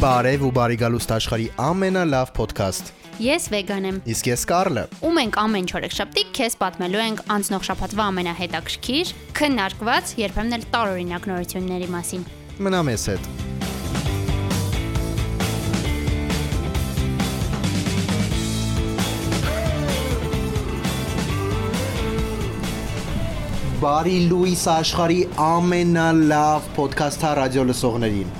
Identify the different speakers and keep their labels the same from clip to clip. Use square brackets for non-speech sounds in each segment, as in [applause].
Speaker 1: Բարև ու բարի գալուստ աշխարի ամենալավ podcast։
Speaker 2: Ես վեգան եմ։
Speaker 1: Իսկ ես Կարլը։
Speaker 2: Ու մենք ամեն չորեքշաբթի քեզ պատմելու ենք անցնող շաբաթվա ամենահետաքրքիր, քննարկված, երբեմն էլ տարօրինակ նորությունների մասին։
Speaker 1: Մնա մեզ հետ։ Բարի լույս աշխարի ամենալավ podcast-ա ռադիո լսողներին։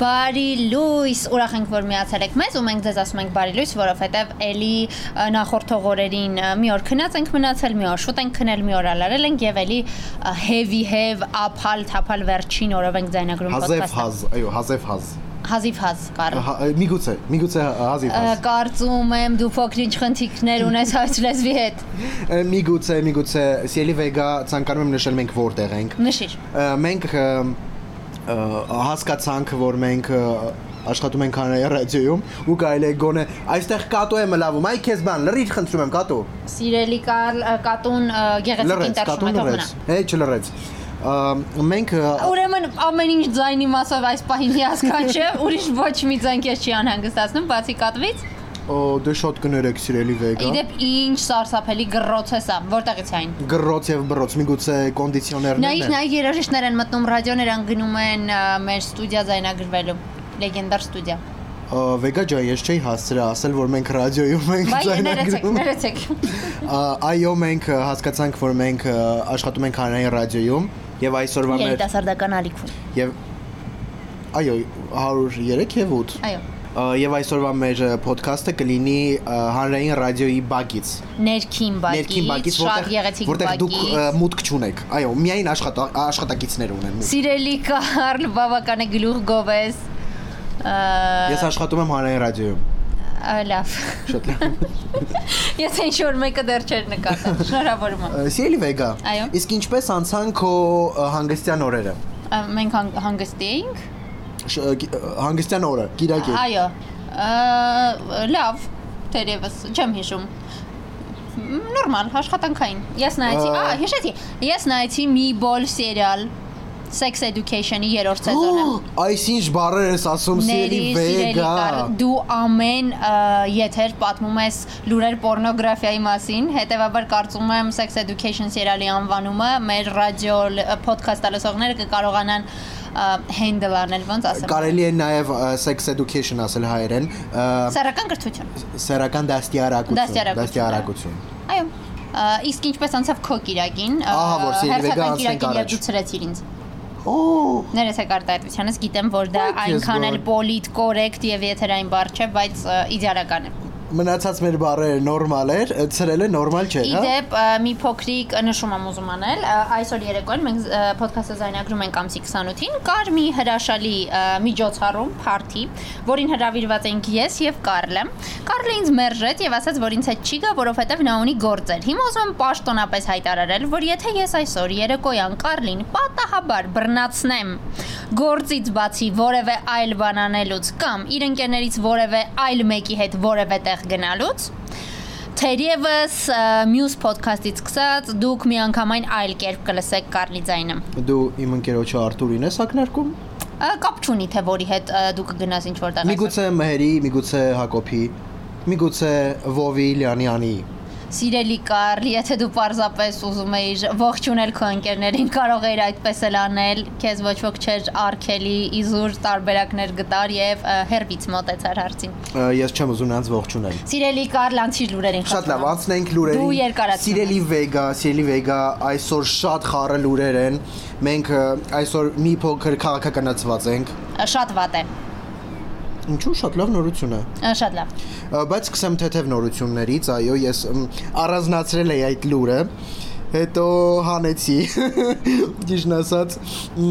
Speaker 2: Բարի լույս, ուրախ ենք, որ միացել եք մեզ ու մենք ձեզ ասում ենք բարի լույս, որովհետև էլի ը, նախորդ հողորերին ը, մի օր քնած ենք մնացել, մի օր շուտ ենք քնել, մի օր ալարել ենք եւ էլի ը, heavy hev, ափալ, թափալ վերջին օրով ենք ձայնագրում
Speaker 1: Հազև հազ, այո, հազև հազ։
Speaker 2: Հազիվ հազ կարող։
Speaker 1: Հա- Միգուցե, միգուցե հազիվ հազ։
Speaker 2: Կարծում եմ դու փոքրինչ խնդիրներ ունես [laughs] այս լեզվի հետ։
Speaker 1: Միգուցե, միգուցե, Սիելի Վեգա ցանկանում եմ նշել մենք որտեղ ենք։
Speaker 2: Նշիր։
Speaker 1: Ա, մենք ը, ը, հասկացանք, որ մենք ը, աշխատում ենք հանրային ռադիոյում ու կարելի է գոնե այստեղ կատու եմ լավում, այ քեզ բան, լրիվ խնդրում եմ կատու։
Speaker 2: Սիրելի Կարլ ը, կատուն ը, գեղեցիկ
Speaker 1: Լրեց,
Speaker 2: ինտերշում է
Speaker 1: կատուն
Speaker 2: թողնա։
Speaker 1: լրեց։ Է, չլրեց։ Ա, Մենք ը,
Speaker 2: Ուրեմն ամեն ինչ ձայնի մասով այս պահին հիասքանչ
Speaker 1: [laughs]
Speaker 2: չէ, ուրիշ ոչ մի ձայն քեզ չի անհանգստացնում, բացի կատվից։
Speaker 1: ո, դե շատ կներեք սիրելի Վեգա։
Speaker 2: Իդեպ ինչ սարսափելի գրոց է սա, որտեղից է այն։
Speaker 1: Գրոց եւ բրոց, միգուցե
Speaker 2: Նայիր,
Speaker 1: կոնդիցիոներներն են։
Speaker 2: նայիր երաժիշտներ են մտնում ռադիոներ են գնում են ը, մեր ստուդիա ձայնագրվելու։ Լեգենդար ստուդիա։
Speaker 1: Ա, Վեգա ջան, ես չէի հասցրել ասել, որ մենք ռադիոյում ենք
Speaker 2: Բայ ներեցեք,
Speaker 1: ձայնագրում։
Speaker 2: ներեցեք։
Speaker 1: Ա, Այո, մենք ը, հասկացանք, որ մենք ը, աշխատում ենք հանրային ռադիոյում եւ այսօրվա մեր
Speaker 2: Երիտասարդական ալիք ունի։
Speaker 1: եւ այո 103 եւ 8
Speaker 2: Այո։
Speaker 1: Ա, եւ այսօրվա մեր ը, podcast-ը կլինի ը, հանրային ռադիոյի բագից
Speaker 2: Ներքին
Speaker 1: ներքին
Speaker 2: բակից,
Speaker 1: բագից
Speaker 2: շատ գեղեցիկ
Speaker 1: որտեղ
Speaker 2: բակից։
Speaker 1: դուք ը, մուտք չունեք այո միայն աշխատա- աշխատակիցներ ունեն մուտք
Speaker 2: Սիրելի Կարլ, բավական է գլուխ գովես։ Ա,
Speaker 1: ես աշխատում եմ հանրային ռադիոյում
Speaker 2: ա, Լավ։
Speaker 1: շատ լավ
Speaker 2: Եթե ինչ որ մեկը դեռ չէր նկատել, [laughs] շնորհավորում եմ։
Speaker 1: Ա, Սիրելի Վեգա
Speaker 2: Այո։
Speaker 1: իսկ ինչպես անցան քո ը, հանգստյան օրերը
Speaker 2: Ա, Մենք հանգ- հանգստի էինք։
Speaker 1: Շ- ը, գի- ը, հանգստյան օրը գիրակի
Speaker 2: Այո։ Ա, Լավ, դերևս չեմ հիշում։ Մ, Նորմալ, աշխատանքային։ Ես նայեցի,
Speaker 1: Ա.
Speaker 2: ա, հիշեցի։ Ես նայեցի մի բոլ սերիալ Sex Education-ի երրորդ սեզոնը։
Speaker 1: այսինչ բառեր ես ասում Սիրելի
Speaker 2: Ներիր, սիրելի
Speaker 1: Վեգա
Speaker 2: կար, դու ամեն ը, եթեր պատմում ես լուրեր pornography-ի մասին, հետեւաբար կարծում եմ sex education սերիալի անվանումը մեր ռադիո լ- podcast-ը լսողները կկարողանան ը, handle անել, ոնց ասեմ։
Speaker 1: կարելի է նաև ը, sex education ասել հայերեն ը,
Speaker 2: Սեռական կրթություն։
Speaker 1: սեռական դաստիարակություն
Speaker 2: Դաստիարակություն,
Speaker 1: դաստիարակություն
Speaker 2: Այո։ ը, Իսկ ինչպես անցավ քո կիրակին, ը,
Speaker 1: Ահա, որ սիրելի
Speaker 2: հերթական
Speaker 1: Վեգա, անցնենք
Speaker 2: կիրակին, երբ
Speaker 1: առաջ։
Speaker 2: դու ցրեցիր ինձ։
Speaker 1: օ
Speaker 2: Ներեցեք արտահայտությանս, գիտեմ, որ դա
Speaker 1: Ո՞й քեզ
Speaker 2: այնքան էլ
Speaker 1: գոհ։
Speaker 2: politcorrect եւ եթերային բառ չէ, բայց ը, իդեալական է։
Speaker 1: մնացած մեր բառերը նորմալ էր ը, ցրելը նորմալ չէր հա
Speaker 2: Իդեպ ա, մի փոքրիկ նշում եմ ուզում անել։ Ա, Այսօր երեկոյան մենք զ- ա, podcast-ը զայնագրում ենք ամսի 28-ին, կար մի հրաշալի ա, միջոցառում, party, որին հրավիրված էինք ես եւ Կարլը։ Կարլը ինձ մերժեց եւ ասաց, որ ինձ հետ չի գա, որովհետեւ նա ունի գործեր։ Հիմա ուզում եմ պաշտոնապես հայտարարել, որ եթե ես այսօր երեկոյան Կարլին պատահաբար բռնացնեմ գործից բացի որևէ այլ բան անելուց կամ իր ընկերներից որևէ այլ մեկի հետ որևէ տեղ գնալուց Թերևս ը, մյուս ոդքասթից սկսած դուք մի անգամ այն այլ կերպ կլսեք Կարլի ձայնը։
Speaker 1: դու իմ ընկերոջը Արտուրին ես ակներքում
Speaker 2: Ա, Կապ չունի թե որի հետ ը, դու կգնաս ինչ որ տեղ։
Speaker 1: միգուցե մհերի միգուցե հակոբի միգուցե վովի լյանյանի
Speaker 2: Սիրելի Կարլ, եթե դու պարզապես ուզում էիր ողջունել քո ընկերներին, կարող էիր այդպես էլ անել, քեզ ոչ ոք չէր արկելի, իզուր տարբերակներ գտար եւ ը, հերվից մտեցար հարցին։
Speaker 1: Ա, ես չեմ ուզում նրանց ողջունել
Speaker 2: Սիրելի Կարլ, անցիր լուրերին։
Speaker 1: Շատ լավ,
Speaker 2: խնդրում եմ։
Speaker 1: անցնենք լուրերին։
Speaker 2: Դու երկարացնում
Speaker 1: Սիրելի Վեգա, Սիրելի Վեգա, այսօր շատ խառը լուրեր են։ Մենք ը, այսօր մի փոքր քաղաքականացված ենք։
Speaker 2: Ա, Շատ վատ է։
Speaker 1: Ինչու՞ շատ լավ նորություն է։
Speaker 2: Ա, Շատ լավ։
Speaker 1: Ա, բայց սկսեմ թեթև նորություններից, այո, ես մ, առանձնացրել էի այդ լուրը, հետո հանեցի։ [laughs] Ճիշտ ասած, մ,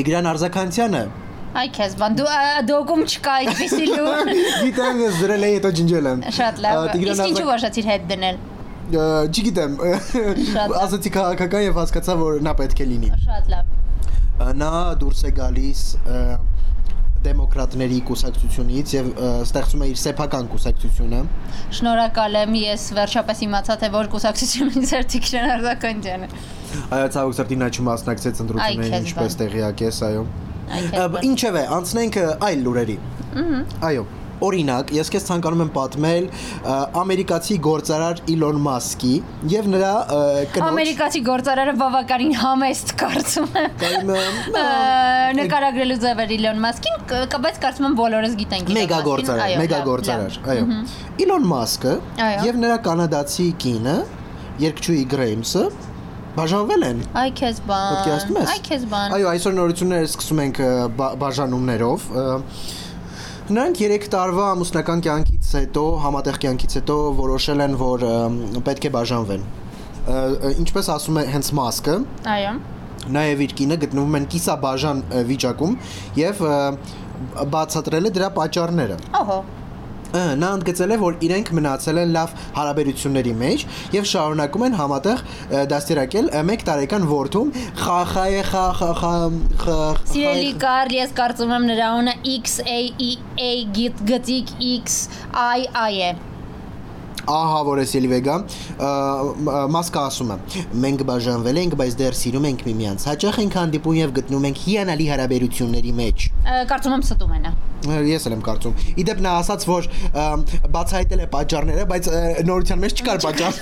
Speaker 1: Տիգրան
Speaker 2: [laughs]
Speaker 1: Արզականցյանը
Speaker 2: Այ քեզ, բան դու ա, դոգում չկա այդպիսի
Speaker 1: [laughs]
Speaker 2: լուր։
Speaker 1: Գիտեմ ես դրել էի, հետո ջնջել եմ։
Speaker 2: Շատ լավ։
Speaker 1: Ա, Տիգրան
Speaker 2: Իսկ ինչու
Speaker 1: Արզակ-
Speaker 2: որոշացիր հետ դնել։
Speaker 1: Ա, Չգիտեմ։
Speaker 2: լավ։
Speaker 1: [laughs] Ասացի քաղաքական եւ հասկացա, որ նա պետք է լինի։
Speaker 2: Շատ լավ։
Speaker 1: նա դուրս է գալիս ը, դեմոկրատների կուսակցությունից եւ ը, ստեղծում է իր սեփական կուսակցությունը։
Speaker 2: Շնորհակալ եմ, ես վերջապես իմացա թե որ կուսակցությունն ինձ էր Տիգրան Արտականյանը։
Speaker 1: Այո, ցավոք սրտին նա չմասնակցեց
Speaker 2: Այ,
Speaker 1: ընտրություններին,
Speaker 2: քեզ
Speaker 1: ինչպես
Speaker 2: բան։
Speaker 1: տեղյակ ես, այո։
Speaker 2: Այդ հետ։
Speaker 1: Ինչևէ, անցնենք ը, այլ լուրերի։ Այո։ Օրինակ, ես քեզ ցանկանում եմ պատմել ը, ամերիկացի գործարար Իլոն Մասկի եւ նրա ը, կնոջ
Speaker 2: Ամերիկացի գործարարը բավականին համեստ կարծում եմ։
Speaker 1: Կամ, ը,
Speaker 2: Ա, նկարագրելու ձևը Իլոն Մասկին, կ- կ- բայց կարծում եմ բոլորս գիտենք Elon
Speaker 1: մեգա
Speaker 2: Musk-ին,
Speaker 1: գործարար,
Speaker 2: այո,
Speaker 1: մեգա
Speaker 2: լավ,
Speaker 1: գործարար,
Speaker 2: լավ,
Speaker 1: այո։
Speaker 2: մհմ,
Speaker 1: Իլոն Մասկը
Speaker 2: Այո։
Speaker 1: եւ նրա կանադացի կինը, երկչուի Գրեյմսը բաժանվել են
Speaker 2: Այ քեզ բան։
Speaker 1: Պոդքասթում ես։
Speaker 2: Այ քեզ բան։
Speaker 1: Այո, այսօր նորությունները սկսում ենք ը, բա- բաժանումներով։ ը, Նրանք 3 տարվա ամուսնական կյանքից հետո, համատեղ կյանքից հետո որոշել են, որ ըմ, պետք է բաժանվեն։ Ը, ը, Ինչպես ասում է հենց Մասկը,
Speaker 2: Այո։
Speaker 1: նաև իր կինը գտնվում են կիսաբաժան ը, վիճակում եւ ը, բացատրել է դրա պատճառները։
Speaker 2: Ահա։
Speaker 1: Ա, Նա ընդգծել է, որ իրենք մնացել են լավ հարաբերությունների մեջ եւ շարունակում են համատեղ ա, դաստիարակել 1 տարեկան որդում խախայե խախախա
Speaker 2: Սիրելի Կարլ, ես կարծում եմ նրա ունը XAEA E գիտ գծիկ XII է։
Speaker 1: Ահա որ է Սիլվեգա մասկա ասում է մենք բաժանվել ենք, բայց դեռ սիրում ենք միմյանց։ Հաճախ ենք հանդիպում եւ գտնում ենք հիանալի հարաբերությունների մեջ։
Speaker 2: Ա, Կարծում եմ ստում են։
Speaker 1: Ա, Ես էլ եմ կարծում։ Իդեպ նա ասաց, որ ա, բացահայտել է պատճառները, բայց ա, նորության մեջ չկար պատճառ։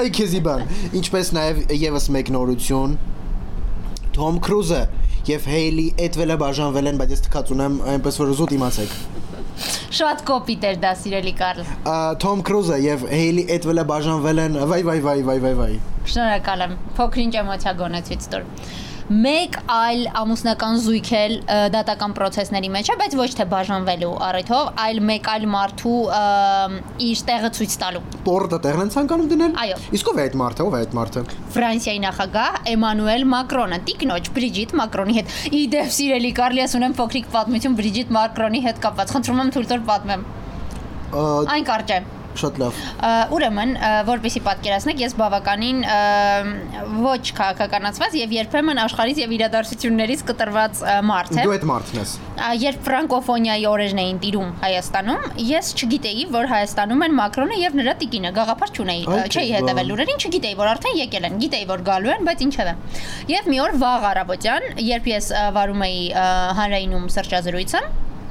Speaker 1: Այ քեզի բան։ Ինչպես նաև եւս մեկ նորություն Թոմ Քրուզը եւ Հեյլի Էդվելը բաժանվել են, բայց ես թքած ունեմ, այնպես որ զուտ իմացեք։
Speaker 2: Շատ կոպիտ էր դա, սիրելի Կարլ։
Speaker 1: Ա, Թոմ Քրուզը եւ Հեյլի Էդվելը բաժանվել են։ Վայ վայ վայ վայ վայ վայ։
Speaker 2: Շնորհակալ եմ։ Փոքրինչ էմոցիա գոնեցից տոր։ Մեկ այլ ամուսնական զույգ էլ ը, դատական process-ների մեջ է, բայց ոչ թե բաժանվելու առիթով, այլ մեկ այլ մարդու ը, իր տեղը ցույց տալու։
Speaker 1: Պորտը տեղն են ցանկանում դնել։
Speaker 2: Այո։
Speaker 1: Իսկ ով է այդ մարդը, ով է այդ մարդը։
Speaker 2: Ֆրանսիայի նախագահ Էմանուել Մակրոնը տիկնոջ Բրիջիտ Մակրոնի հետ։ Իդեպ սիրելի Կարլի, ես ունեմ փոքրիկ պատմություն Բրիջիտ Մակրոնի հետ կապված։ Խնդրում եմ թույլ տուր պատմեմ։
Speaker 1: Ա,
Speaker 2: Այն կարճ է։
Speaker 1: Շատ լավ։
Speaker 2: Ա, Ուրեմն, ա, որպեսի պատկերացնեք, ես բավականին ա, ոչ քաղաքականացված եւ երբեմն աշխարհից եւ իրադարձություններից կտրված ա, մարդ եմ։
Speaker 1: Դու այդ մարդն ես։
Speaker 2: Ա, Երբ ֆրանկոֆոնիայի օրերն էին տիրում Հայաստանում, ես չգիտեի, որ Հայաստանում են Մակրոնը եւ նրա տիկինը, գաղափար չունեի,
Speaker 1: Այ
Speaker 2: ա, չէի
Speaker 1: քեզ բան։
Speaker 2: հետեւել լուրերին, չգիտեի, որ արդեն եկել են, գիտեի, որ գալու են, բայց ինչևէ։ Եվ մի օր վաղ առավոտյան, երբ ես ա, վարում էի ա, հանրայինում սրճազրույցը,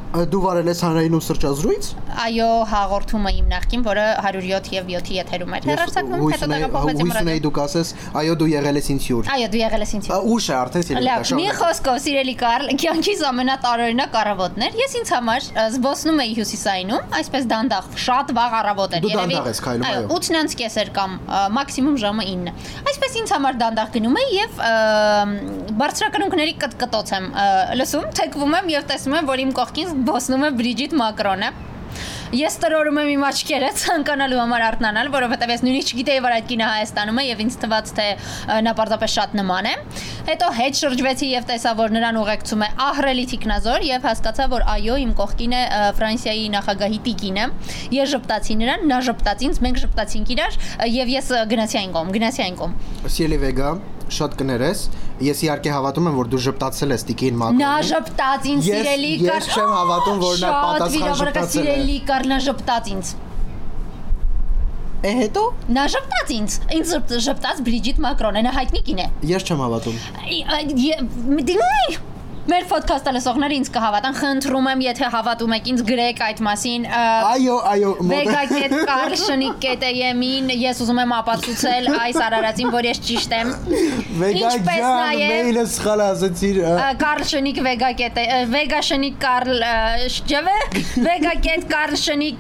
Speaker 1: Ա, Դու վարել ես հանրայինում սրճազրույց։
Speaker 2: այո, հաղորդումը իմ նախքին, որը 107 եւ 7-ի եթերում էր
Speaker 1: Ես
Speaker 2: հեռարձակվում,
Speaker 1: հույս
Speaker 2: հետո
Speaker 1: ունեի-
Speaker 2: տեղափոխվեցի
Speaker 1: հույս ունեի
Speaker 2: մռայլ։
Speaker 1: դուք ասես, այո դու եղել ես ինձ հյուր։
Speaker 2: Այո, դու եղել ես ինձ։
Speaker 1: Ա, Ուշ է արդեն Սիլվեգա,
Speaker 2: Լավ, մի խոսքով, սիրելի Կարլ, կյանքիս ամենատարօրինակ առավոտն էր։ Ես ինձ համար ը, զբոսնում էի հյուսիսայինում, այսպես դանդաղ, շատ վաղ առավոտ էր,
Speaker 1: Դու դանդաղ ես քայլում, այո։
Speaker 2: 8-ից կես էր կամ ը, մաքսիմում ժամը 9։ Այսպես ինձ համար դանդաղ գնում էի եւ ը, բարձրակրունկների կտկտոց եմ ը, լսում, թեքվում եմ եւ տեսնում եմ, որ իմ կողքին զբոսնում է Բրիջիտ Մակրոնը։ Ես տրորում եմ իմ աչքերը ցանկանալու համար արթնանալ, որովհետև ես նույնիսկ չգիտեի, որ այդ կինը Հայաստանում է եւ ինձ թվաց թե ը, նա պարզապես շատ նման է։ Հետո հետ շրջվեցի եւ տեսա, որ նրան ուղեկցում է ահրելի թիկնազոր եւ հասկացա, որ այո, իմ կողքին է ը, Ֆրանսիայի նախագահի տիկինը։ Ես ժպտացի նրան, նա ժպտաց ինձ, մենք ժպտացինք իրար ը, եւ ես ը, գնացի այն կողմ, գնացի այն կողմ։
Speaker 1: Սիլվեգա, շատ կներես։ Ես իհարկե հավատում եմ, որ դու ժպտացել ես Տիկին Մակոն։
Speaker 2: Նա ժպտաց ինձ
Speaker 1: Ես-
Speaker 2: սիրելի
Speaker 1: ես
Speaker 2: Կարլ-
Speaker 1: չեմ հավատում, որ նա
Speaker 2: Շատ
Speaker 1: պատասխան
Speaker 2: վիրավորական
Speaker 1: ժպտացել է։
Speaker 2: Սիրելի Կարլ, նա ժպտաց ինձ։
Speaker 1: Է հետո
Speaker 2: Նա ժպտաց ինձ, ինձ ժպ- ժպտաց Բրիջիտ Մակրոնը, նա հայտնի կին է։
Speaker 1: ես չեմ հավատում։
Speaker 2: Այ- այ- ե- մ- դի- Մեր ոդքասթը լսողները ինձ կհավատան, խնդրում եմ, եթե հավատում եք ինձ գրեք այդ մասին։ ը,
Speaker 1: Այո, այո,
Speaker 2: Vega.carlshnik.am-ին ես ուզում եմ ապացուցել այս արարածին, որ ես ճիշտ եմ։
Speaker 1: Վեգա
Speaker 2: Ինչպես
Speaker 1: ջան,
Speaker 2: նաև-
Speaker 1: մեյլը սխալ ասացիր։ ա,
Speaker 2: Carlshnik Vega. Vega Shnik Carl ջևե Vega. Carlshnik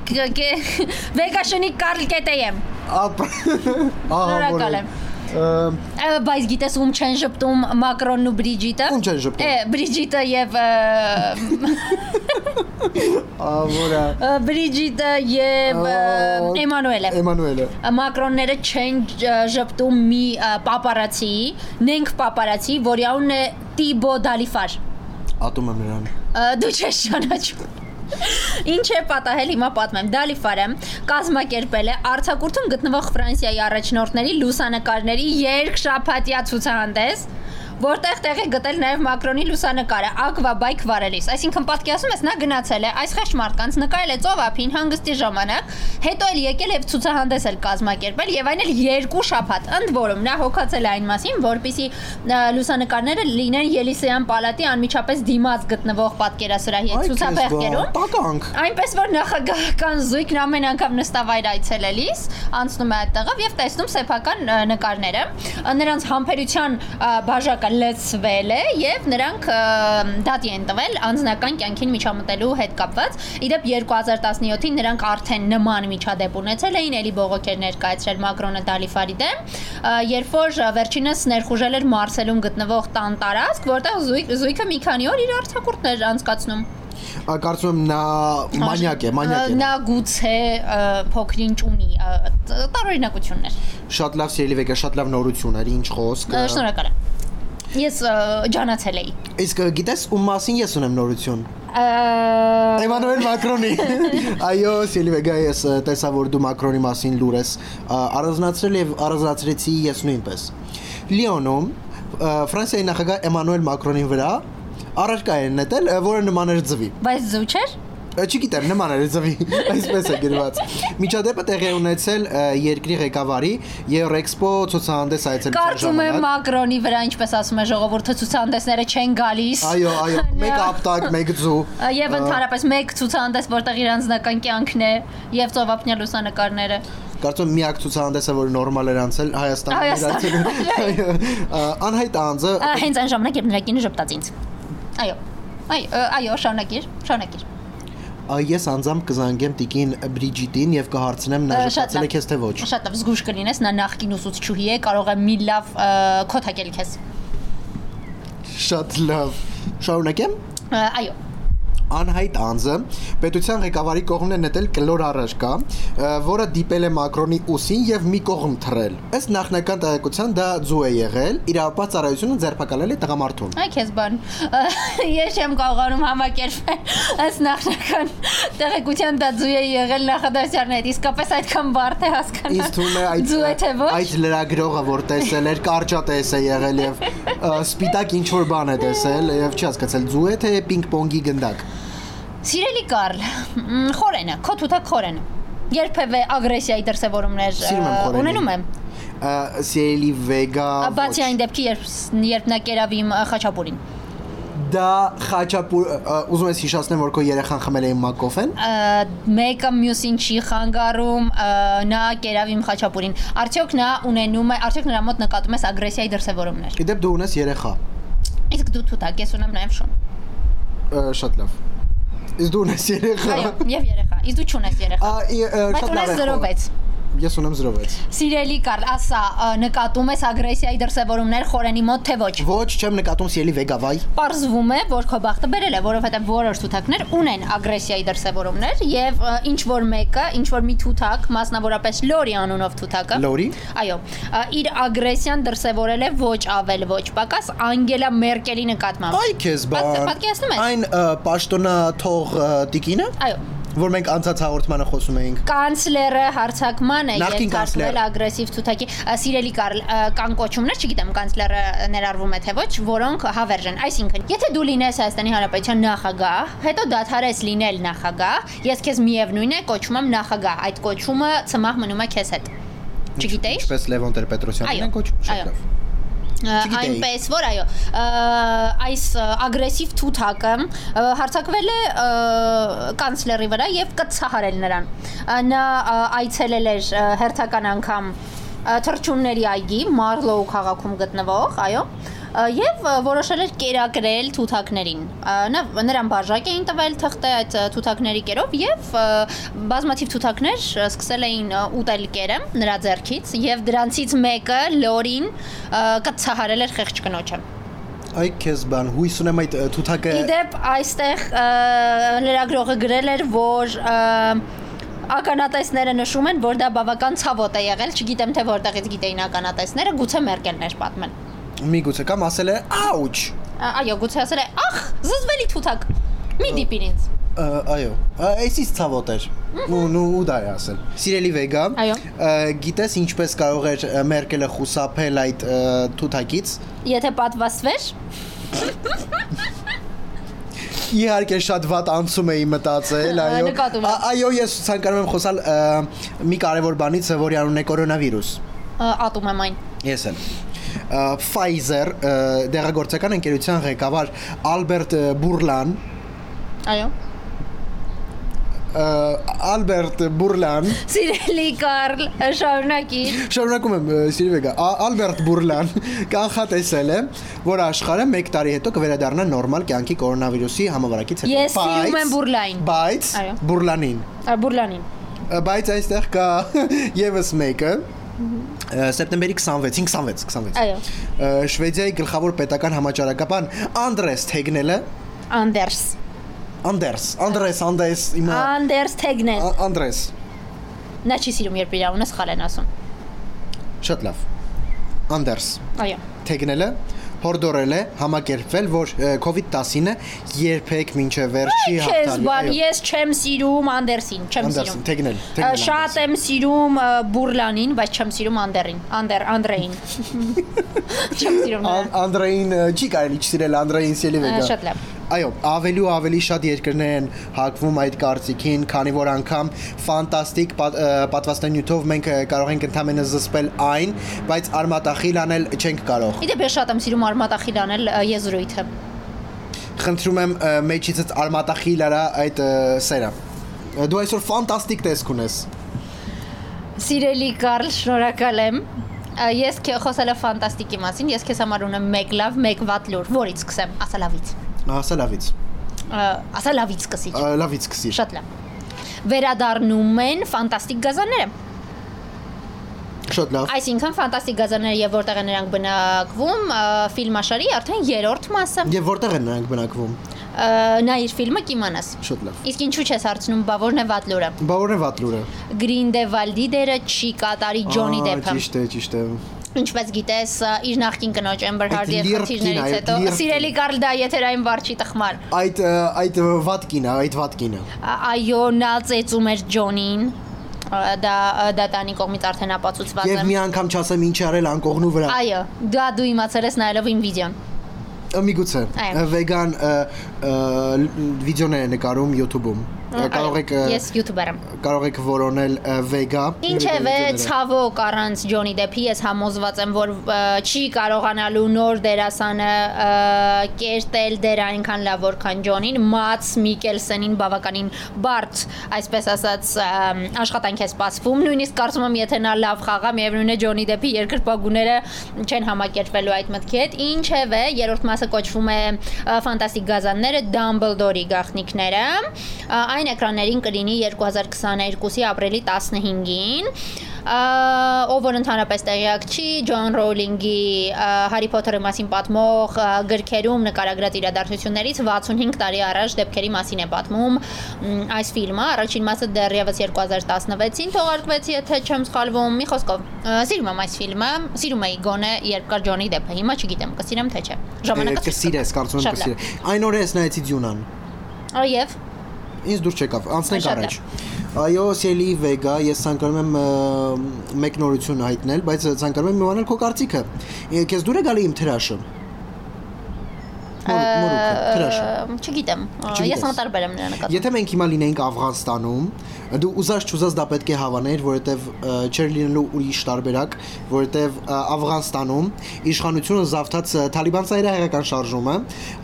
Speaker 2: Vega Shnik Carl.am։
Speaker 1: ապ-
Speaker 2: [laughs]
Speaker 1: Ահա
Speaker 2: Շնորհակալ եմ։ Ա, Բայց գիտես ում չեն ժպտում Մակրոնն ու Բրիջիտը։
Speaker 1: Ում չեն ժպտում։
Speaker 2: Է, Բրիջիտը եւ ը,
Speaker 1: Ավորա։
Speaker 2: ը, Բրիջիտը եւ ը, Էմանուելը։
Speaker 1: Էմանուելը։
Speaker 2: Մակրոնները չեն ջ- ժպտում մի ը, պապարացի, նենք պապարացի, որի անունն է Տիբո Դալիֆար։
Speaker 1: Ատում եմ նրան։
Speaker 2: Ա, Դու չես ճանաչում։ Ինչ է պատահել հիմա պատմեմ։ Դալիֆարը կազմակերպել է Արցակուրտում գտնվող Ֆրանսիայի առաջնորդների լուսանկարների երկշաբաթյա ցուցահանդես որտեղ տեղ է գտել նաև Մակրոնի լուսանկարը Aquabike վարելիս։ Այսինքն պատկերացնում ես նա գնացել է այս խեղճ մարդկանց նկարել է ծովափին հանգստի ժամանակ, հետո էլ եկել եւ ցուցահանդես էլ կազմակերպել եւ այն էլ երկու շաբաթ։ Ընդ որում նա հոգացել է այն մասին, որբիսի լուսանկարները լինեն Ելիսեյան պալատի անմիջապես դիմաց գտնվող պատկերասրահի
Speaker 1: Այ քեզ բա,
Speaker 2: ցուցաբեղերում։
Speaker 1: Տականք։
Speaker 2: Այնպես որ նախագահական զույգն ամեն անգամ նստավայր այցելելիս անցնում է այդ տեղով եւ տեսնում սեփական ը, նկարները։ Ա, Նրանց համբերության ա, բաժակը լցվել է եւ նրանք ը, դատի են տվել անձնական կյանքին միջամտելու հետ կապված։ Իդեպ 2017-ին նրանք արդեն նման միջադեպ ունեցել էին, ելի բողոքեր ներկայացրել Մակրոնը Դալիֆարի դեմ, ա, երբ որ ա, վերջինս ներխուժել էր Մարսելում գտնվող տան տարածք, որտեղ զույգ զույգը մի քանի օր իր արձակուրդներ էր անցկացնում։
Speaker 1: Ա, Կարծում եմ նա մանյակ է, մանյակ է։
Speaker 2: Նա գուցե ը, փոքրինչ ունի ը, տ- տարօրինակություններ։
Speaker 1: Շատ լավ սիրելի վեգա, շատ լավ նորություն էր, ինչ խոսք։
Speaker 2: Ը, Շնորհակալ եմ։ Ես ը, ջանացել էի։
Speaker 1: Իսկ ա, գիտես ում մասին ես ունեմ նորություն։
Speaker 2: Ա,
Speaker 1: Էմանուել
Speaker 2: [laughs]
Speaker 1: Մակրոնի։ Այո, Սիլվեգա, ես ա, տեսա, որ դու Մակրոնի մասին լուր ես ա, առանձնացրել եւ առանձնացրեցի ես նույնպես։ Լիոնում ա, Ֆրանսիայի նախագահ Էմանուել Մակրոնի վրա առարկա են նետել, ա, որը նման էր ձվի։
Speaker 2: Բայց զու չէր։
Speaker 1: Ա, Չգիտեմ, նման էր ձվի, [laughs] այսպես է գրված։ Միջադեպը տեղի է ունեցել ա, երկրի ղեկավարի եւ Ռեքսպո ցուցահանդես այցելության
Speaker 2: Կարծում եմ
Speaker 1: ժամանակ։
Speaker 2: Մակրոնի վրա, ինչպես ասում է ժողովուրդը, ցուցահանդեսները չեն գալիս։
Speaker 1: Այո, այո, մեկ
Speaker 2: Նա-
Speaker 1: ապտակ, մեկ ձու։
Speaker 2: Ա, Եվ ընդհանրապես մեկ ցուցահանդես, որտեղ իր անձնական կյանքն է եւ ծովափնյա լուսանկարները։
Speaker 1: Կարծում եմ միակ ցուցահանդեսը, որ նորմալ էր անցել Հայաստանում
Speaker 2: Հայաստան-
Speaker 1: իրացել։ Այո, ա, անհայտ անձը
Speaker 2: Ա, Հենց այն ժամանակ, երբ նրա կինը ժպտաց ինձ։ Այո։ Այ ը, այո, շարունակիր, շարունակիր։
Speaker 1: ա, ես անձամբ կզանգեմ Տիկին Բրիջիտին եւ կհարցնեմ նա
Speaker 2: Ա, շատ
Speaker 1: ժպտացել է
Speaker 2: լավ։
Speaker 1: քեզ թե ոչ։
Speaker 2: Շատ լավ, զգուշ կլինես, նա նախկին ուսուցչուհի է, կարող է մի լավ ը, քոթակել քեզ։
Speaker 1: Շատ լավ։ Շարունակեմ։
Speaker 2: Ա, Այո։
Speaker 1: Անհայտ անձը պետության ղեկավարի կողմն է նետել կլոր առաջկա, ը, որը դիպել է Մակրոնի ուսին եւ մի կողմ թռել։ Ըստ նախնական տեղեկության դա ձու է եղել, իրավապահ ծառայությունը ձերբակալել է տղամարդուն։
Speaker 2: Այ քեզ բան։ Ա, Ես չեմ կարողանում համակերպել այս նախնական տեղեկության դա ձույ է եղել նախադասյարներ, իսկապես այդքան բարդ է հասկանալ։
Speaker 1: Իսկ թվում է այդ
Speaker 2: ձու է թե ոչ։
Speaker 1: այդ լրագրողը որ տեսել էր կարճատես է եղել եւ ը, սպիտակ ինչ որ բան է տեսել եւ չի հասկացել ձու է թե պինգ-պոնգի գնդակ։
Speaker 2: Սիրելի Կարլ, մ, խորենը, քո թութակ խորենը։ Երբևէ ագրեսիայի դրսևորումներ ը,
Speaker 1: Սիրում եմ խորենին։
Speaker 2: ունենում եմ։
Speaker 1: Ա, Սիրելի Վեգա։
Speaker 2: Ա, Բացի
Speaker 1: ոչ։
Speaker 2: այն դե- դեպքի, երբ երբ նա կերավ իմ ը, խաչապուրին։
Speaker 1: դա խաչապուր ա, ուզում ես հիշացնեմ որ քո երեխան խմել է մակոֆեն։
Speaker 2: Ա, մեկը մյուսին չի խանգարում, ա, նա կերավ իմ խաչապուրին։ Արդյոք նա ունենում է, արդյոք նրա մոտ նկատում ես ագրեսիայի դրսևորումներ։
Speaker 1: Իդեպ դու ունես երեխա։
Speaker 2: Իսկ դու թութակ, ես ունեմ նաև շուն։
Speaker 1: Ա, շատ լավ։ Իսկ դու ունես երեխա։
Speaker 2: Այո, եւ երեխա։ Իսկ դու չունես երեխա։
Speaker 1: Ա, ի- ա,
Speaker 2: Բայց
Speaker 1: շատ լավ
Speaker 2: ունես
Speaker 1: է։
Speaker 2: 0.6։
Speaker 1: Ես ունեմ 0.6։
Speaker 2: Սիրելի Կարլ, ասա, ա, նկատում ես ագրեսիայի դրսևորումներ խորենի մոտ թե ոչ։
Speaker 1: Ոչ, չեմ նկատում սիրելի Վեգա, վայ։
Speaker 2: Պարզվում է, որ քո բախտը բերել է, որովհետև որոշ թութակներ ունեն ագրեսիայի դրսևորումներ եւ ինչ որ մեկը, ինչ որ մի թութակ, մասնավորապես Լորի անունով թութակը
Speaker 1: Լորի։
Speaker 2: Այո, ա, իր ագրեսիան դրսևորել է ոչ ավել, ոչ պակաս Անգելա Մերկելի նկատմամբ։
Speaker 1: Այ քեզ բան։
Speaker 2: Բաց- պատկերացնում ես։
Speaker 1: Այն ա, պաշտոնա թող ա, տիկինը,
Speaker 2: Այո,
Speaker 1: որ մենք անցած հաղորդմանը խոսում էինք։
Speaker 2: կանցլերը հարցակման է
Speaker 1: Նախկին
Speaker 2: ենթարկվել
Speaker 1: կանցլերը։
Speaker 2: ագրեսիվ ցուցակի ա, սիրելի Կարլ ա, կան կոչումներ, չգիտեմ կանցլերը ներառվում է թե ոչ, որոնք հավերժ են։ Այսինքն, եթե դու լինես Հայաստանի Հանրապետության նախագահ, հետո դադարես լինել նախագահ, ես քեզ միևնույն է կոչում եմ նախագահ, այդ կոչումը ծմահ մնում է քեզ հետ։ Չգիտեի՞։
Speaker 1: Ինչպես Լևոն Տեր-Պետրոսյանն
Speaker 2: Այո,
Speaker 1: են կոչում, շատ
Speaker 2: այո։
Speaker 1: լավ։
Speaker 2: Ա,
Speaker 1: Չգիտեի։
Speaker 2: այնպես որ այո ա, այս ա, ագրեսիվ թութակը ա, հարցակվել է ա, կանցլերի վրա եւ կցահարել նրան Ա, նա ա, այցելել էր ա, հերթական անգամ ա, թռչունների այգի մարլոու քաղաքում գտնվող այո ա, Եվ ա, որոշել էր կերակրել թութակներին։ Ա, Նա նրան բաժակ էին տվել թղթե այդ ա, թութակների կերով եւ ա, բազմաթիվ թութակներ ա, սկսել էին ա, ուտել կերը նրա ձեռքից եւ դրանցից մեկը Լորին ա, կցահարել էր խեղճ կնոջը։
Speaker 1: Այ քեզ բան, հույս ունեմ այդ ա, թութակը։
Speaker 2: Իդեպ այստեղ ա, լրագրողը գրել էր, որ ա, ականատեսները նշում են, որ դա բավական ցավոտ է եղել, չգիտեմ թե որտեղից գիտեին ականատեսները, գուցե Մերկելներ պատմեն։ դե-
Speaker 1: Միգուցե կամ ասել է աուչ։
Speaker 2: Ա, Այո, գուցե ասել է, «Ախ, զզվելի թութակ»։ Մի դիպիր ինձ։
Speaker 1: Ա, Այո, ա, այսից ցավոտ էր։ Ու նու ու դա է ասել։ Սիրելի Վեգա,
Speaker 2: Այո։
Speaker 1: ը, գիտես ինչպես կարող էր ը, Մերկելը խուսափել այդ ը, թութակից։
Speaker 2: Եթե պատվաստվեր,
Speaker 1: Իհարկե շատ վատ անցում էի մտածել,
Speaker 2: Ա,
Speaker 1: այո։
Speaker 2: նկատում եմ։
Speaker 1: Ա- Այո, ես ցանկանում եմ խոսալ ը, մի կարևոր բանից, ը, որի անունն է կորոնավիրուս։
Speaker 2: ա, ատում եմ այն։
Speaker 1: Ես եմ։ Ա, Pfizer ը, դեղագործական ընկերության ղեկավար Ալբերտ ը, Բուրլան,
Speaker 2: Այո։
Speaker 1: ը, Ալբերտ Բուրլան,
Speaker 2: Սիրելի Կարլ, շարունակի։
Speaker 1: շարունակում եմ ը, սիրի վեգա, Ա- Ալբերտ Բուրլան կանխատեսել է, որ աշխարհը 1 տարի հետո կվերադառնա նորմալ կյանքի կորոնավիրուսի համավարակից հետո։
Speaker 2: Ես սիրում
Speaker 1: Բայց-
Speaker 2: եմ Բուրլային։
Speaker 1: Բայց
Speaker 2: Այո։
Speaker 1: Բուրլանին
Speaker 2: Ա, Բուրլանին։
Speaker 1: Ա, բայց այստեղ կա [laughs] եւս մեկը ը, սեպտեմբերի 26-ին 26 26
Speaker 2: Այո։
Speaker 1: Ա, Շվեդիայի գլխավոր պետական համաճարակաբան Անդրես Թեգնելը
Speaker 2: Անդերս։
Speaker 1: Անդերս Անդրես Անդես իմա
Speaker 2: Անդերս Թեգնեն։
Speaker 1: Ա- Անդրես
Speaker 2: Նա չի սիրում, երբ իր անունը սխալ են ասում։
Speaker 1: շատ լավ Անդերս
Speaker 2: Այո։
Speaker 1: Թեգնելը հորդորել է համակերպվել որ ը, COVID-19-ը երբեք մինչև վերջի
Speaker 2: Քեզ բան,
Speaker 1: հաղթալու
Speaker 2: ես չեմ սիրում Անդերսին, չեմ
Speaker 1: Անդերսն
Speaker 2: սիրում։
Speaker 1: Թեգնել
Speaker 2: Ա,
Speaker 1: Թեգնել
Speaker 2: Շատ եմ սիրում ա, Բուրլանին, բայց չեմ սիրում Անդերին, Անդեր [laughs] Անդրեին։ Չեմ սիրում
Speaker 1: Ան-
Speaker 2: նրան։
Speaker 1: Անդրեին ը, չի կարելի չսիրել Անդրեին սիրելի
Speaker 2: Ա,
Speaker 1: վեգա։
Speaker 2: Շատ լավ։
Speaker 1: Այո, ավելի ու ավելի շատ երկրներ են հակվում այդ կարծիքին, քանի որ անգամ ֆանտաստիկ պատ- ը, պատվաստանյութով մենք ը, կարող ենք ընդամենը զսպել այն, բայց արմատախիլ անել չենք կարող։
Speaker 2: Իդեպ ես շատ եմ սիրում Արմատախիլանել ա, եզրույթը։
Speaker 1: Խնդրում եմ ը, մեջից այդ արմատախիլ արա այդ ը, սերը։ Ը, Դու այսօր ֆանտաստիկ տեսք ունես։
Speaker 2: Սիրելի Կարլ, շնորհակալ եմ։ Ա, Ես քե- խոսել եմ ֆանտաստիկի մասին, ես քեզ համար ունեմ մեկ լավ, մեկ վատ լուր, որից սկսեմ, ասա լավից։
Speaker 1: Ասա լավից։
Speaker 2: Ա, Ասա լավից սկսի։
Speaker 1: Ա, Լավից սկսիր։
Speaker 2: Շատ լավ։ Վերադառնում են ֆանտաստիկ գազանները։
Speaker 1: Շատ լավ։
Speaker 2: Այսինքն ֆանտաստիկ գազանները եւ որտեղ են նրանք բնակվում, ա, ֆիլմաշարի արդեն երրորդ մասը։
Speaker 1: Եվ որտեղ են նրանք բնակվում։
Speaker 2: Ա, Նա իր ֆիլմը կիմանաս։
Speaker 1: Շատ լավ։
Speaker 2: Իսկ ինչու՞ չես հարցնում, բա որն է վատ լուրը։
Speaker 1: Բա որն է վատ լուրը։
Speaker 2: Գրինդեվալդի դերը չի կատարի Ջոնի
Speaker 1: Ա,
Speaker 2: Դեփը։
Speaker 1: Ճիշտ է, ճիշտ է։
Speaker 2: Ինչպես գիտես, իր նախկին կնոջ Amber
Speaker 1: Այդ
Speaker 2: Heard-ի հետ
Speaker 1: լիրկին,
Speaker 2: խնդիրներից
Speaker 1: այդ
Speaker 2: հետո
Speaker 1: լիրկին։
Speaker 2: սիրելի Կարլ դա եթերային վարչի տխմար։
Speaker 1: Այդ ը, այդ ը, վատ կինը, այդ վատ կինը։
Speaker 2: Ա- Այո, նա ծեծում էր Ջոնին։ Ա, Դա դա տանի կողմից արդեն ապացուցված
Speaker 1: Եվ
Speaker 2: է։
Speaker 1: մի անգամ չասեմ ինչ արել անկողնու վրա։
Speaker 2: Այո, դա դու իմացել ես նայելով իմ վիդեոն։
Speaker 1: Միգուցե
Speaker 2: Այո։
Speaker 1: վեգան ը, ը, լ- վիդեոներ է նկարում YouTube-ում։ Կարող եք ը,
Speaker 2: Այո, Ես YouTuber եմ։
Speaker 1: կարող եք որոնել ը, վեգա։
Speaker 2: Ինչևէ, ցավոք առանց Ջոնի Դեփի ես համոզված եմ, որ ը, չի կարողանալու նոր դերասանը ը, կերտել դեր այնքան լավ, որքան Ջոնին, Մաց Միկելսենին բավականին բարդ, այսպես ասած, ը, աշխատանք է սպասվում։ Նույնիսկ կարծում եմ, եթե նա լավ խաղա, միևնույն է Ջոնի Դեփի երկրպագուները չեն համակերպվելու այդ մտքի հետ։ Ինչևէ, երրորդ մասը կոչվում է ը, ֆանտաստիկ գազանները, Դամբլդորի գաղտնիքները։ Ա, Այն էկրաններին կլինի 2022-ի ապրիլի 15-ին։ ա, Ով որ ընդհանրապես տեղյակ չի, Ջոն Ռոուլինգի Հարի Փոթերի մասին պատմող ա, գրքերում նկարագրած իրադարձություններից 65 տարի առաջ դեպքերի մասին է պատմում մ, այս ֆիլմը։ Առաջին մասը դեռևս 2016-ին թողարկվեց, եթե չեմ սխալվում։ Մի խոսքով, ա, սիրում եմ այս ֆիլմը, սիրում էի գոնե երբ կար Ջոնի Դեփը։ Հիմա չգիտեմ, կսիրեմ թե չէ։ Ժամանակը
Speaker 1: Կսիրես, կարծում եմ
Speaker 2: Շատ լավ։
Speaker 1: կսիրես։ Այն օրը ես նայեցի Ձյունան։
Speaker 2: Եվ
Speaker 1: Ինձ դուր չեկավ, անցնենք
Speaker 2: Շատ
Speaker 1: առաջ։ Այո, Սելի Վեգա, ես ցանկանում եմ ը, մեկ նորություն հայտնել, բայց ը, ցանկանում եմ իմանալ քո կարծիքը։ Ե- Քեզ դուր է գալի իմ թրաշը։ Մոր- Մորուքը, թրաշը։
Speaker 2: Ա, Չգիտեմ։ Ա,
Speaker 1: Չգիտես։
Speaker 2: Ես անտարբեր եմ նրա նկատմամբ։
Speaker 1: Եթե մենք հիմա լինեինք Աфghanistan-ում, դու ուզած չուզած դա պետք է հավանեիր, որովհետև ը, չէր լինելու ուրիշ տարբերակ, որովհետև ը, Աфghanistan-ում իշխանությունը զավթած ը, Թալիբան ցայրահեղական շարժումը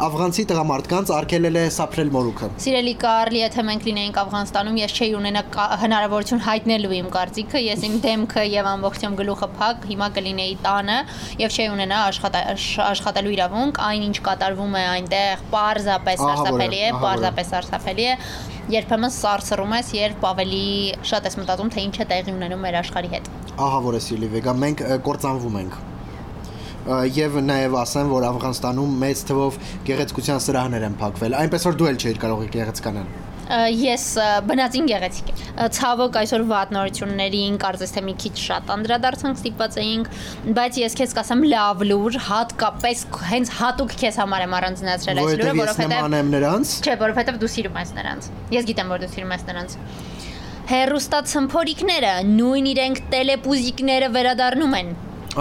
Speaker 1: աфghanցի տղամարդկանց արգելել է սափրել մորուքը։
Speaker 2: Սիրելի Կարլի, եթե մենք լինեինք Աфghanստանում, ես չէի ունենա կա- հնարավորություն հայտնելու իմ կարծիքը, ես իմ դեմքը եւ ամբողջությամբ գլուխը փակ, հիմա կլինեի տանը եւ չէի ունենա աշխատա- աշ- աշխատելու իրավունք, այն ինչ կատարվում է այնտեղ, parzapes
Speaker 1: Ահա որ է,
Speaker 2: հարսափելի է,
Speaker 1: ահա որ է։
Speaker 2: parzapes հարսափելի է։ Երբեմն սարսռում ես, երբ ավելի շատ ես մտածում, թե ինչ է տեղի ունենում մեր աշխարհի հետ։
Speaker 1: Ահա որ է Սիլի Վեգա, մենք ը, կործանվում ենք։ Ա, Եվ նաև ասեմ, որ Աфghanistan-ում մեծ թվով գեղեցկության սրահներ են փակվել, այնպես որ դու էլ չէիր կարող գեղեցկանալ։
Speaker 2: Ա, Ես ա, բնածին գեղեցիկ եմ։ Ա, Ցավոք այսօր վատ նորություններին կարծես թե մի քիչ շատ անդրադարձանք ստիպված էինք, բայց ես քեզ կասեմ լավ լուր, հատկապես հենց հատուկ քեզ համար եմ առանձնացրել այս լուրը,
Speaker 1: Որովհետև ես
Speaker 2: որովհետև
Speaker 1: նման եմ նրանց։
Speaker 2: չէ, որովհետև դու սիրում ես նրանց։ Ես գիտեմ, որ դու սիրում ես նրանց։ հերոստացմփորիկները նույն իրենք տելեպուզիկները վերադառնում են։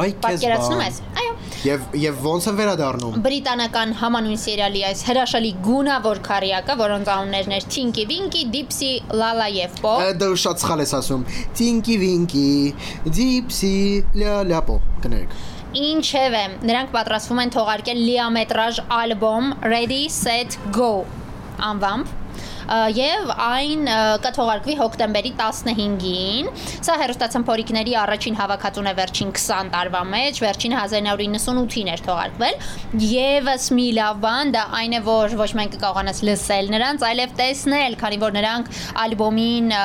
Speaker 1: Այ քեզ
Speaker 2: Պատկերացնում
Speaker 1: բա։
Speaker 2: ես։ Այո։
Speaker 1: Եվ եւ ո՞նց են վերադառնում։
Speaker 2: Բրիտանական համանուն սերիալի այս հրաշալի գունավոր քարիակը, որոնց անուններն էր Tinky Winky, Dipsy, Lala եւ Po,
Speaker 1: Ա, Դա շատ սխալ ես ասում։ Տինկի վինկի, դիպսի, լա լապո, կներեք։
Speaker 2: ինչևէ, նրանք պատրաստվում են թողարկել լիամետրաժ ալբոմ Ready Set Go անվամբ ը, եւ այն ը, կթողարկվի հոկտեմբերի 15-ին։ Սա հերոստացմփորիկների առաջին հավաքածուն է վերջին 20 տարվա մեջ, վերջին 1998-ին էր թողարկվել։ Եվս մի լավ բան դա այն է, որ ոչ մենք կկարողանաս լսել նրանց, այլև տեսնել, քանի որ նրանք ալբոմին ը,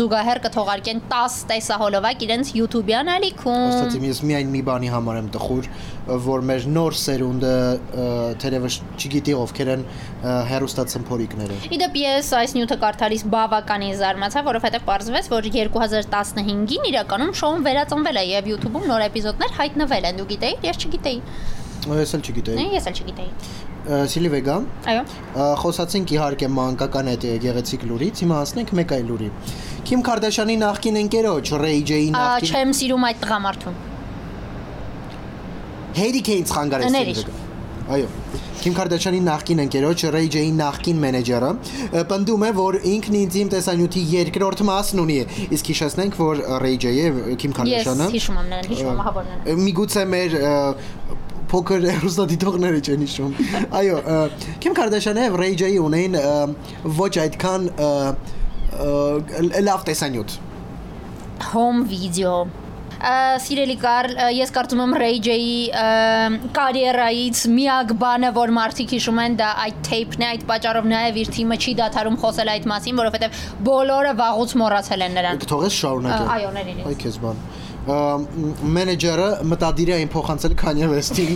Speaker 2: զուգահեռ կթողարկեն 10 տեսահոլովակ իրենց YouTube-յան ալիքում։
Speaker 1: Ստացիմ ես միայն մի բանի համար եմ տխուր, որ մեր նոր սերունդը ա, թերևս չգիտի ովքեր են հերոստացմփորիկները։
Speaker 2: Իդեպ ես այս նյութը կարդալիս բավականին զարմացա, որովհետև պարզվեց, որ 2015-ին իրականում շոուն վերածնվել է եւ YouTube-ում նոր էպիզոդներ հայտնվել են։ Դու գիտեի, ես չգիտեի։
Speaker 1: Ես էլ չգիտեի։
Speaker 2: Ես էլ չգիտեի։
Speaker 1: Ա, Սիլիվեգա։
Speaker 2: Այո։
Speaker 1: Ա, խոսացինք իհարկե մանկական այդ գեղեցիկ լուրից, հիմա հասնենք մեկ այլ լուրի։ Քիմ Քարդաշյանի նախկին ընկերոջ Ռեյ Ջեյի
Speaker 2: Ա,
Speaker 1: նախկին
Speaker 2: Չեմ սիրում այդ տղամարդուն։
Speaker 1: Հերիքեյն ցխանգարեց
Speaker 2: Ներիշ։
Speaker 1: Այո։ Քիմ Քարդաշյանի նախկին ընկերոջ Ռեյ Ջեյի նախկին մենեջերը ը, պնդում է, որ ինքն ինձիմ տեսանյութի երկրորդ մասն ունի։ Իսկ հիշեցնենք, որ Ռեյ Ջեյը Քիմ
Speaker 2: Ես
Speaker 1: Քարդաշյանը
Speaker 2: հիշում եմ նրան, հիշում եմ ահա որն է։
Speaker 1: միգուցե մեր ը, փոքր ռուսադիտողները չեն հիշում։ Այո, ը, Քիմ Կարդաշյանը եւ Ռեյ Ջեյը ունեն ը, ոչ այդքան ը, ը, լ- լավ տեսանյութ։
Speaker 2: Home video։ Ա, Սիրելի Կարլ, ա, ես կարծում եմ Ray J-ի կարիերայից միակ բանը, որ մարդիկ հիշում են, դա այդ tape-ն է, այդ պատճառով նաև իր թիմը չի դադարում խոսել այդ մասին, որովհետև բոլորը վաղուց մոռացել են նրան։
Speaker 1: Կթողես շարունակել։
Speaker 2: Ա, այո, ներիր ինձ։
Speaker 1: Այ քեզ բան։ Ա, մ- մենեջերը մտադիր է այն փոխանցել Kanye West-ին։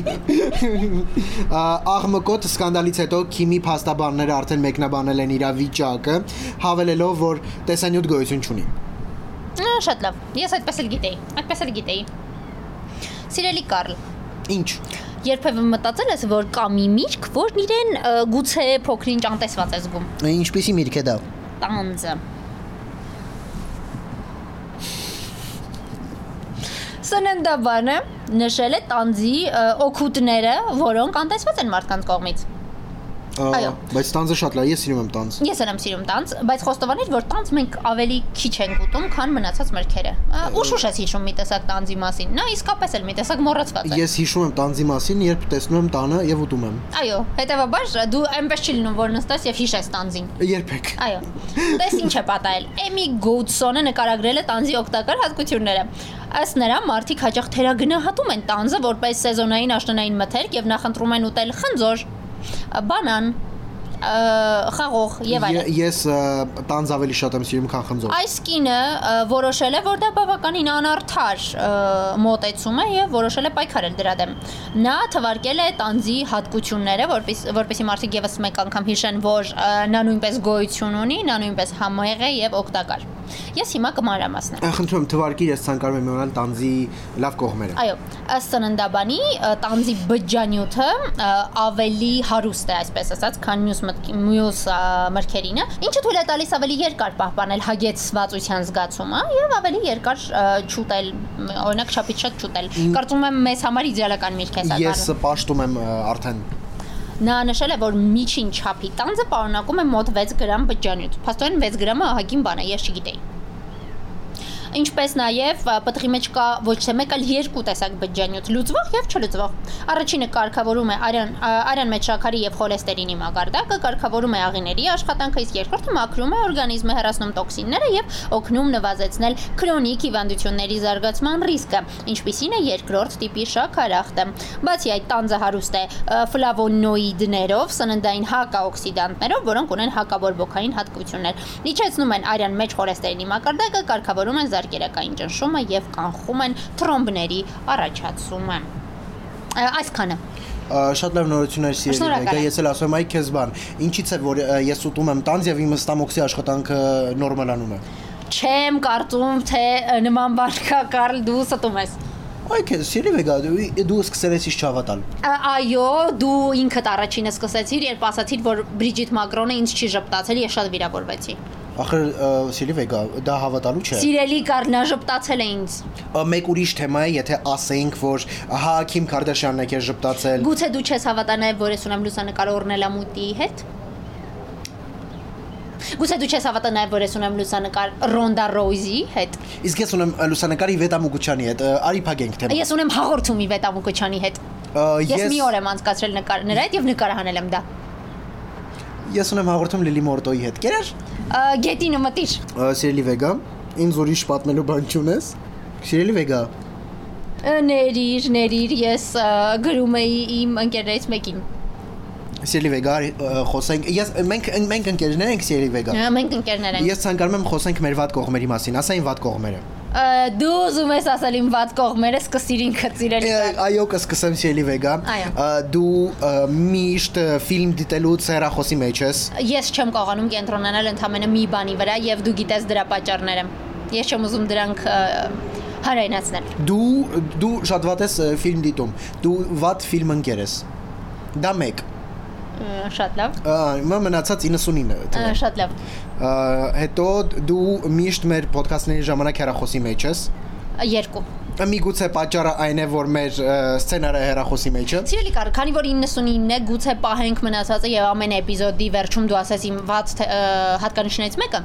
Speaker 1: Ա, Աղմկոտ սկանդալից հետո Քիմի փաստաբանները արդեն մեկնաբանել են իր վիճակը, հավելելով, որ տեսանյութ գոյություն չունի։
Speaker 2: Ա, Շատ լավ։ Ես այդպես էլ գիտեի։ Այդպես էլ գիտեի։ Սիրելի Կարլ,
Speaker 1: Ինչ։
Speaker 2: երբևէ մտածել ես, որ կա մի միրգ, որն իրեն ը, գուցե փոքրինչ անտեսված է զգում։
Speaker 1: Ինչպիսի միրք է դա։
Speaker 2: Տանձը։ Սննդաբանը նշել է տանձի ը, օգուտները, որոնք անտեսված են մարդկանց կողմից։
Speaker 1: Ա,
Speaker 2: Այո։
Speaker 1: Բայց տանձը շատ լավ, ես սիրում եմ տանձ։
Speaker 2: Ես էլ եմ սիրում տանց, բայց խոստովանել, որ տանց մենք ավելի քիչ ենք ուտում, քան մնացած մրգերը։ Ա, Ուշուշ ես հիշում մի տեսակ տանձի մասին։ Նա իսկապես էլ մի տեսակ մոռացված է։
Speaker 1: Ես հիշում եմ տանձի մասին, երբ տեսնում եմ տանը եւ ուտում եմ։
Speaker 2: Այո, հետեւաբար դու այնպես չի լինում, որ նստես եւ հիշես տանձին։
Speaker 1: Երբեք։
Speaker 2: Այո։ Դες ինչ է պատահել։ Էմի Գոուդսոնը նկարագրել է տանձի օգտակար հատկությունները։ Ըստ նրա, մարդիկ հաճախ թերագնահատում են տանձը որպես սեզոնային աշնանային մթերք եւ նախընտրում են ուտել խնձոր, բանան, ը, խաղող եւ
Speaker 1: Ե-
Speaker 2: այլն։
Speaker 1: Ես ա, տանձ ավելի շատ եմ սիրում, քան խնձոր։
Speaker 2: Այս կինը ը, որոշել է, որ դա բավականին անարդար ը, մոտեցում է եւ որոշել է պայքարել դրա դեմ։ Նա թվարկել է տանձի հատկությունները, որպես որպեսի մարդիկ եւս մեկ անգամ հիշեն, որ ը, նա նույնպես գոյություն ունի, նա նույնպես համեղ է եւ օգտակար։ Ես հիմա կմանրամասնեմ։
Speaker 1: Ա, Խնդրում եմ թվարկիր, ես ցանկանում եմ իմանալ տանձի լավ կողմերը։
Speaker 2: Այո, ըստ սննդաբանի ը, տանձի բջջանյութը ը, ավելի հարուստ է, այսպես ասած, քան մյուս մտք- մյուս ա, մրգերինը, ինչը թույլ է տալիս ավելի երկար պահպանել հագեցվածության զգացումը եւ ավելի երկար ը, չուտել, մ, օրինակ չափից շատ չուտել։ Կարծում եմ մեզ համար իդեալական միրգ է սա։
Speaker 1: Ես
Speaker 2: Կարլ։
Speaker 1: պաշտում եմ ա, արդեն։
Speaker 2: Նա նշել է, որ միջին չափի տանձը պարունակում է մոտ 6 գրամ բջջանյութ։ Փաստորեն 6 գրամը ահագին բան է, ես չգիտեի։ Ինչպես նաև ա, պտղի մեջ կա ոչ թե մեկ, այլ երկու տեսակ բջջանյութ՝ լուծվող եւ չլուծվող։ Առաջինը կարգավորում է արյան ա, արյան մեջ շաքարի եւ խոլեստերինի մակարդակը, կարգավորում է աղիների աշխատանքը, իսկ երկրորդը մաքրում է օրգանիզմը, հեռացնում տոքսինները եւ օգնում նվազեցնել քրոնիկ հիվանդությունների զարգացման ռիսկը, ինչպիսին է երկրորդ տիպի շաքարախտը։ Բացի այդ, տանձը հարուստ է ը, ֆլավոնոիդներով, սննդային հակաօքսիդանտներով, որոնք ունեն հակավոր բոքային հատկություններ։ Իջեցնում են արյան մեջ խոլեստերինի մակարդակը, կարգավորում են զարկերակային ճնշումը եւ կանխում են թրոմբների առաջացումը։ Ա, Այսքանը։
Speaker 1: Ա, Շատ լավ նորություններ սիրելի
Speaker 2: Շնորհակալ
Speaker 1: Մեգա,
Speaker 2: եմ։
Speaker 1: ես էլ ասում եմ, այ քեզ բան։ Ինչից է որ ա, ես ուտում եմ տանձ եւ իմ ստամոքսի աշխատանքը նորմալանում է։
Speaker 2: Չեմ կարծում, թե ը, նման բարքա Կարլ դու ստում ես։
Speaker 1: Այ քեզ Սիլիվեգա, դու դու սկսել ես իշ չհավատալ։
Speaker 2: Ա, Այո, դու ինքդ առաջինը սկսեցիր, երբ ասացիր, որ Բրիջիթ Մակրոնը ինձ չի ժպտացել, ես շատ վիրավորվեցի։
Speaker 1: Ախր Սիլիվեգա, դա հավատալու [laughs] չէ։
Speaker 2: Սիրելի Կարնա ժպտացել է ինձ։
Speaker 1: Ա, Մեկ ուրիշ թեմա է, եթե ասենք, որ հա Քիմ Քարդաշյանն է քեզ ժպտացել։
Speaker 2: Գուցե դու չես հավատա նաև, որ ես ունեմ լուսանկարը օրնելամուտի հետ։ Գուցե դու չես հավատա նաև, որ ես ունեմ լուսանկար Ռոնդա Ռոյզի հետ։
Speaker 1: Իսկ ես ունեմ ա, լուսանկարի Վետա Մուգուչյանի հետ, ա, արի փակենք թեման։
Speaker 2: Ես ունեմ հաղորդումի Վետա Մուկոչյանի հետ։
Speaker 1: Ա,
Speaker 2: Ես մի օր եմ անցկացրել նկար նրա հետ եւ նկարահանել եմ դա։
Speaker 1: ես ունեմ հաղորդում Լիլի Մորտոյի հետ։ Կերար։
Speaker 2: Ա, Գետինը մտիր։
Speaker 1: Ա, Սիրելի Վեգա, ինձ ուրիշ պատմելու բան չունես։ Սիրելի Վեգա,
Speaker 2: Ա, Ներիր, ներիր, ես ա, գրում էի իմ ընկերներից մեկին։
Speaker 1: Սիրելի Վեգա, արի, ա, խոսենք։ Ես մենք մենք ընկերներ ենք Սիրելի Վեգա։
Speaker 2: Ա, Մենք ընկերներ ենք։
Speaker 1: Ես ցանկանում եմ խոսենք մեր վատ կողմերի մասին, ասային վատ կողմերը։
Speaker 2: Ա, Դու ուզում ես ասել իմ ված կողմերը սկսիր ինքդ սիրել։
Speaker 1: Ա, Այո, կսկսեմ Սիրելի Վեգա։
Speaker 2: Այո։
Speaker 1: Ա, Դու ա, միշտ ա, ֆիլմ դիտելուց հեռախոսի մեջ ես։
Speaker 2: Ես չեմ կարողանում կենտրոնանալ ընդամենը մի բանի վրա եւ դու գիտես դրա պատճառները։ Ես չեմ ուզում դրանք ա, հարայնացնել։
Speaker 1: Դու դու շատ վատ ես ա, ֆիլմ դիտում։ Դու վատ ֆիլմ ընկեր ես։ Դա մեկ։
Speaker 2: Ա, Շատ լավ։
Speaker 1: Ա, Հիմա մնացած 99
Speaker 2: Ա,
Speaker 1: թվը։
Speaker 2: Շատ լավ։
Speaker 1: Ա, Հետո դու միշտ մեր ոդկասթների ժամանակ հեռախոսի մեջ ես։
Speaker 2: Ա, Երկու։
Speaker 1: Միգուցե պատճառը այն է, որ մեր ը, սցենարը հերախոսի մեջ է։
Speaker 2: Սիրելի կար, քանի որ 99 է, գուցե պահենք մնացածը եւ ամեն էպիզոդի վերջում դու ասես իմ 6 թե- ա, հատկանիշներից մեկը։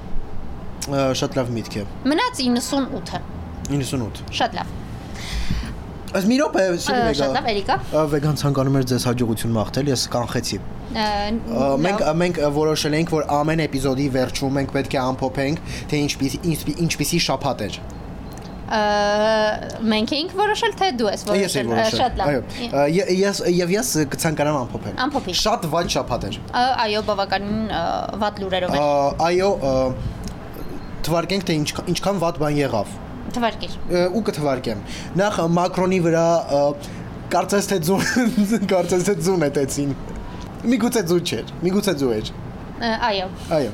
Speaker 1: Ը, Շատ լավ միտք է։
Speaker 2: Մնաց 98-ը։
Speaker 1: 98։
Speaker 2: Շատ լավ։
Speaker 1: Այս մի րոպե,
Speaker 2: Ա,
Speaker 1: Սիրի
Speaker 2: Շատ լավ,
Speaker 1: Վեգա։
Speaker 2: Էրիկա։
Speaker 1: Ա, Վեգան ցանկանում էր ձեզ հաջողություն մաղթել, ես կանխեցի։ Ա,
Speaker 2: Ա,
Speaker 1: Մենք
Speaker 2: լավ։
Speaker 1: մենք ա, որոշել ենք, որ ամեն էպիզոդի վերջում մենք պետք է ամփոփենք, թե ինչպիսի ինչպի- ինչպիսի շփատ էր։
Speaker 2: Ա, մենք էինք որոշել թե դու ես
Speaker 1: Ես եմ որոշել։
Speaker 2: որոշել։ Ա, Շատ լավ։
Speaker 1: Ա, ե- Ես եւ ես կցանկանամ ամփոփել։
Speaker 2: Ամփոփի։
Speaker 1: Շատ վատ շփատ էր։
Speaker 2: Ա, Այո, բավականին ա, վատ լուրերով
Speaker 1: Ա,
Speaker 2: է։
Speaker 1: Այո, ա, թվարկենք թե ինչ ինչքան վատ բան եղավ։
Speaker 2: Թվարկիր։
Speaker 1: Ա, ու կթվարկեմ։ Նախ մակրոնի վրա ա, կարծես թե ձուն [laughs] կարծես թե ձուն հետեցին։ Միգուցե ձուն չէր, միգուցե ձու էր։
Speaker 2: Ա, Այո։
Speaker 1: Այո։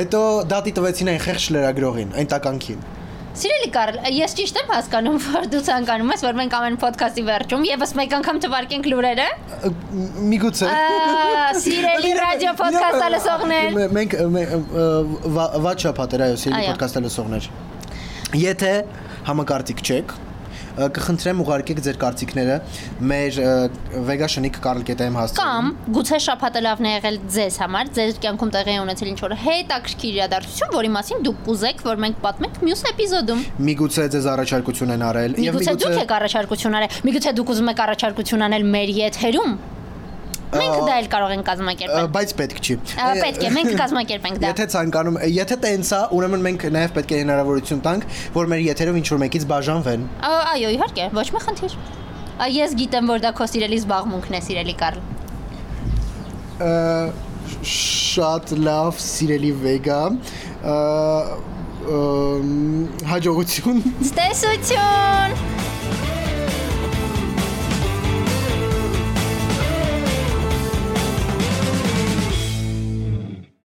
Speaker 1: Հետո դատի տվեցին այն խեղճ լրագրողին, այն տականքին։
Speaker 2: Սիրելի Կարլ, ես ճիշտ եմ հասկանում, որ դու ցանկանում ես, որ մենք ամեն ոդքասթի վերջում եւս մեկ անգամ թվարկենք լուրերը։
Speaker 1: Ա, մ- Միգուցե։
Speaker 2: Ա, Սիրելի ռադիո ոդքասթը լսողներ։
Speaker 1: Մե- Մենք մե- ա, վա- վատ շփատեր, այո, սիրելի
Speaker 2: Այո։
Speaker 1: ոդկասթը լսողներ։ Եթե համակարծիք չեք, ա, կխնդրեմ ուղարկեք ձեր կարծիքները մեր vegashenik.carl.am հասցեին։
Speaker 2: Կամ գուցե շփատը լավն է եղել ձեզ համար, ձեր կյանքում տեղի է ունեցել ինչ որ հետաքրքիր իրադարձություն, որի մասին դուք կուզեք, որ մենք պատմենք մյուս էպիզոդում։
Speaker 1: Միգուցե ձեզ առաջարկություն են արել
Speaker 2: Միգուցե դուք եք առաջարկություն արել, միգուցե դուք ուզում եք առաջարկություն անել մեր եթերում։ Մենք դա էլ կարող ենք
Speaker 1: Ա,
Speaker 2: կազմակերպել։
Speaker 1: բայց պետք չի։
Speaker 2: Ա, Պետք է մենք կազմակերպենք դա։
Speaker 1: Եթե ցանկանում, եթե տենց է, ուրեմն մենք նաև պետք է հնարավորություն տանք, որ մեր եթերով ինչ որ մեկից բաժանվեն։
Speaker 2: Ա, Այո, իհարկե, ոչ մի խնդիր։ Ա, Ես գիտեմ, որ դա քո սիրելի զբաղմունքն է, սիրելի Կարլ։
Speaker 1: Ա, Շատ լավ, սիրելի Վեգա։ Ա, ըմ, Հաջողություն։
Speaker 2: Տեսություն։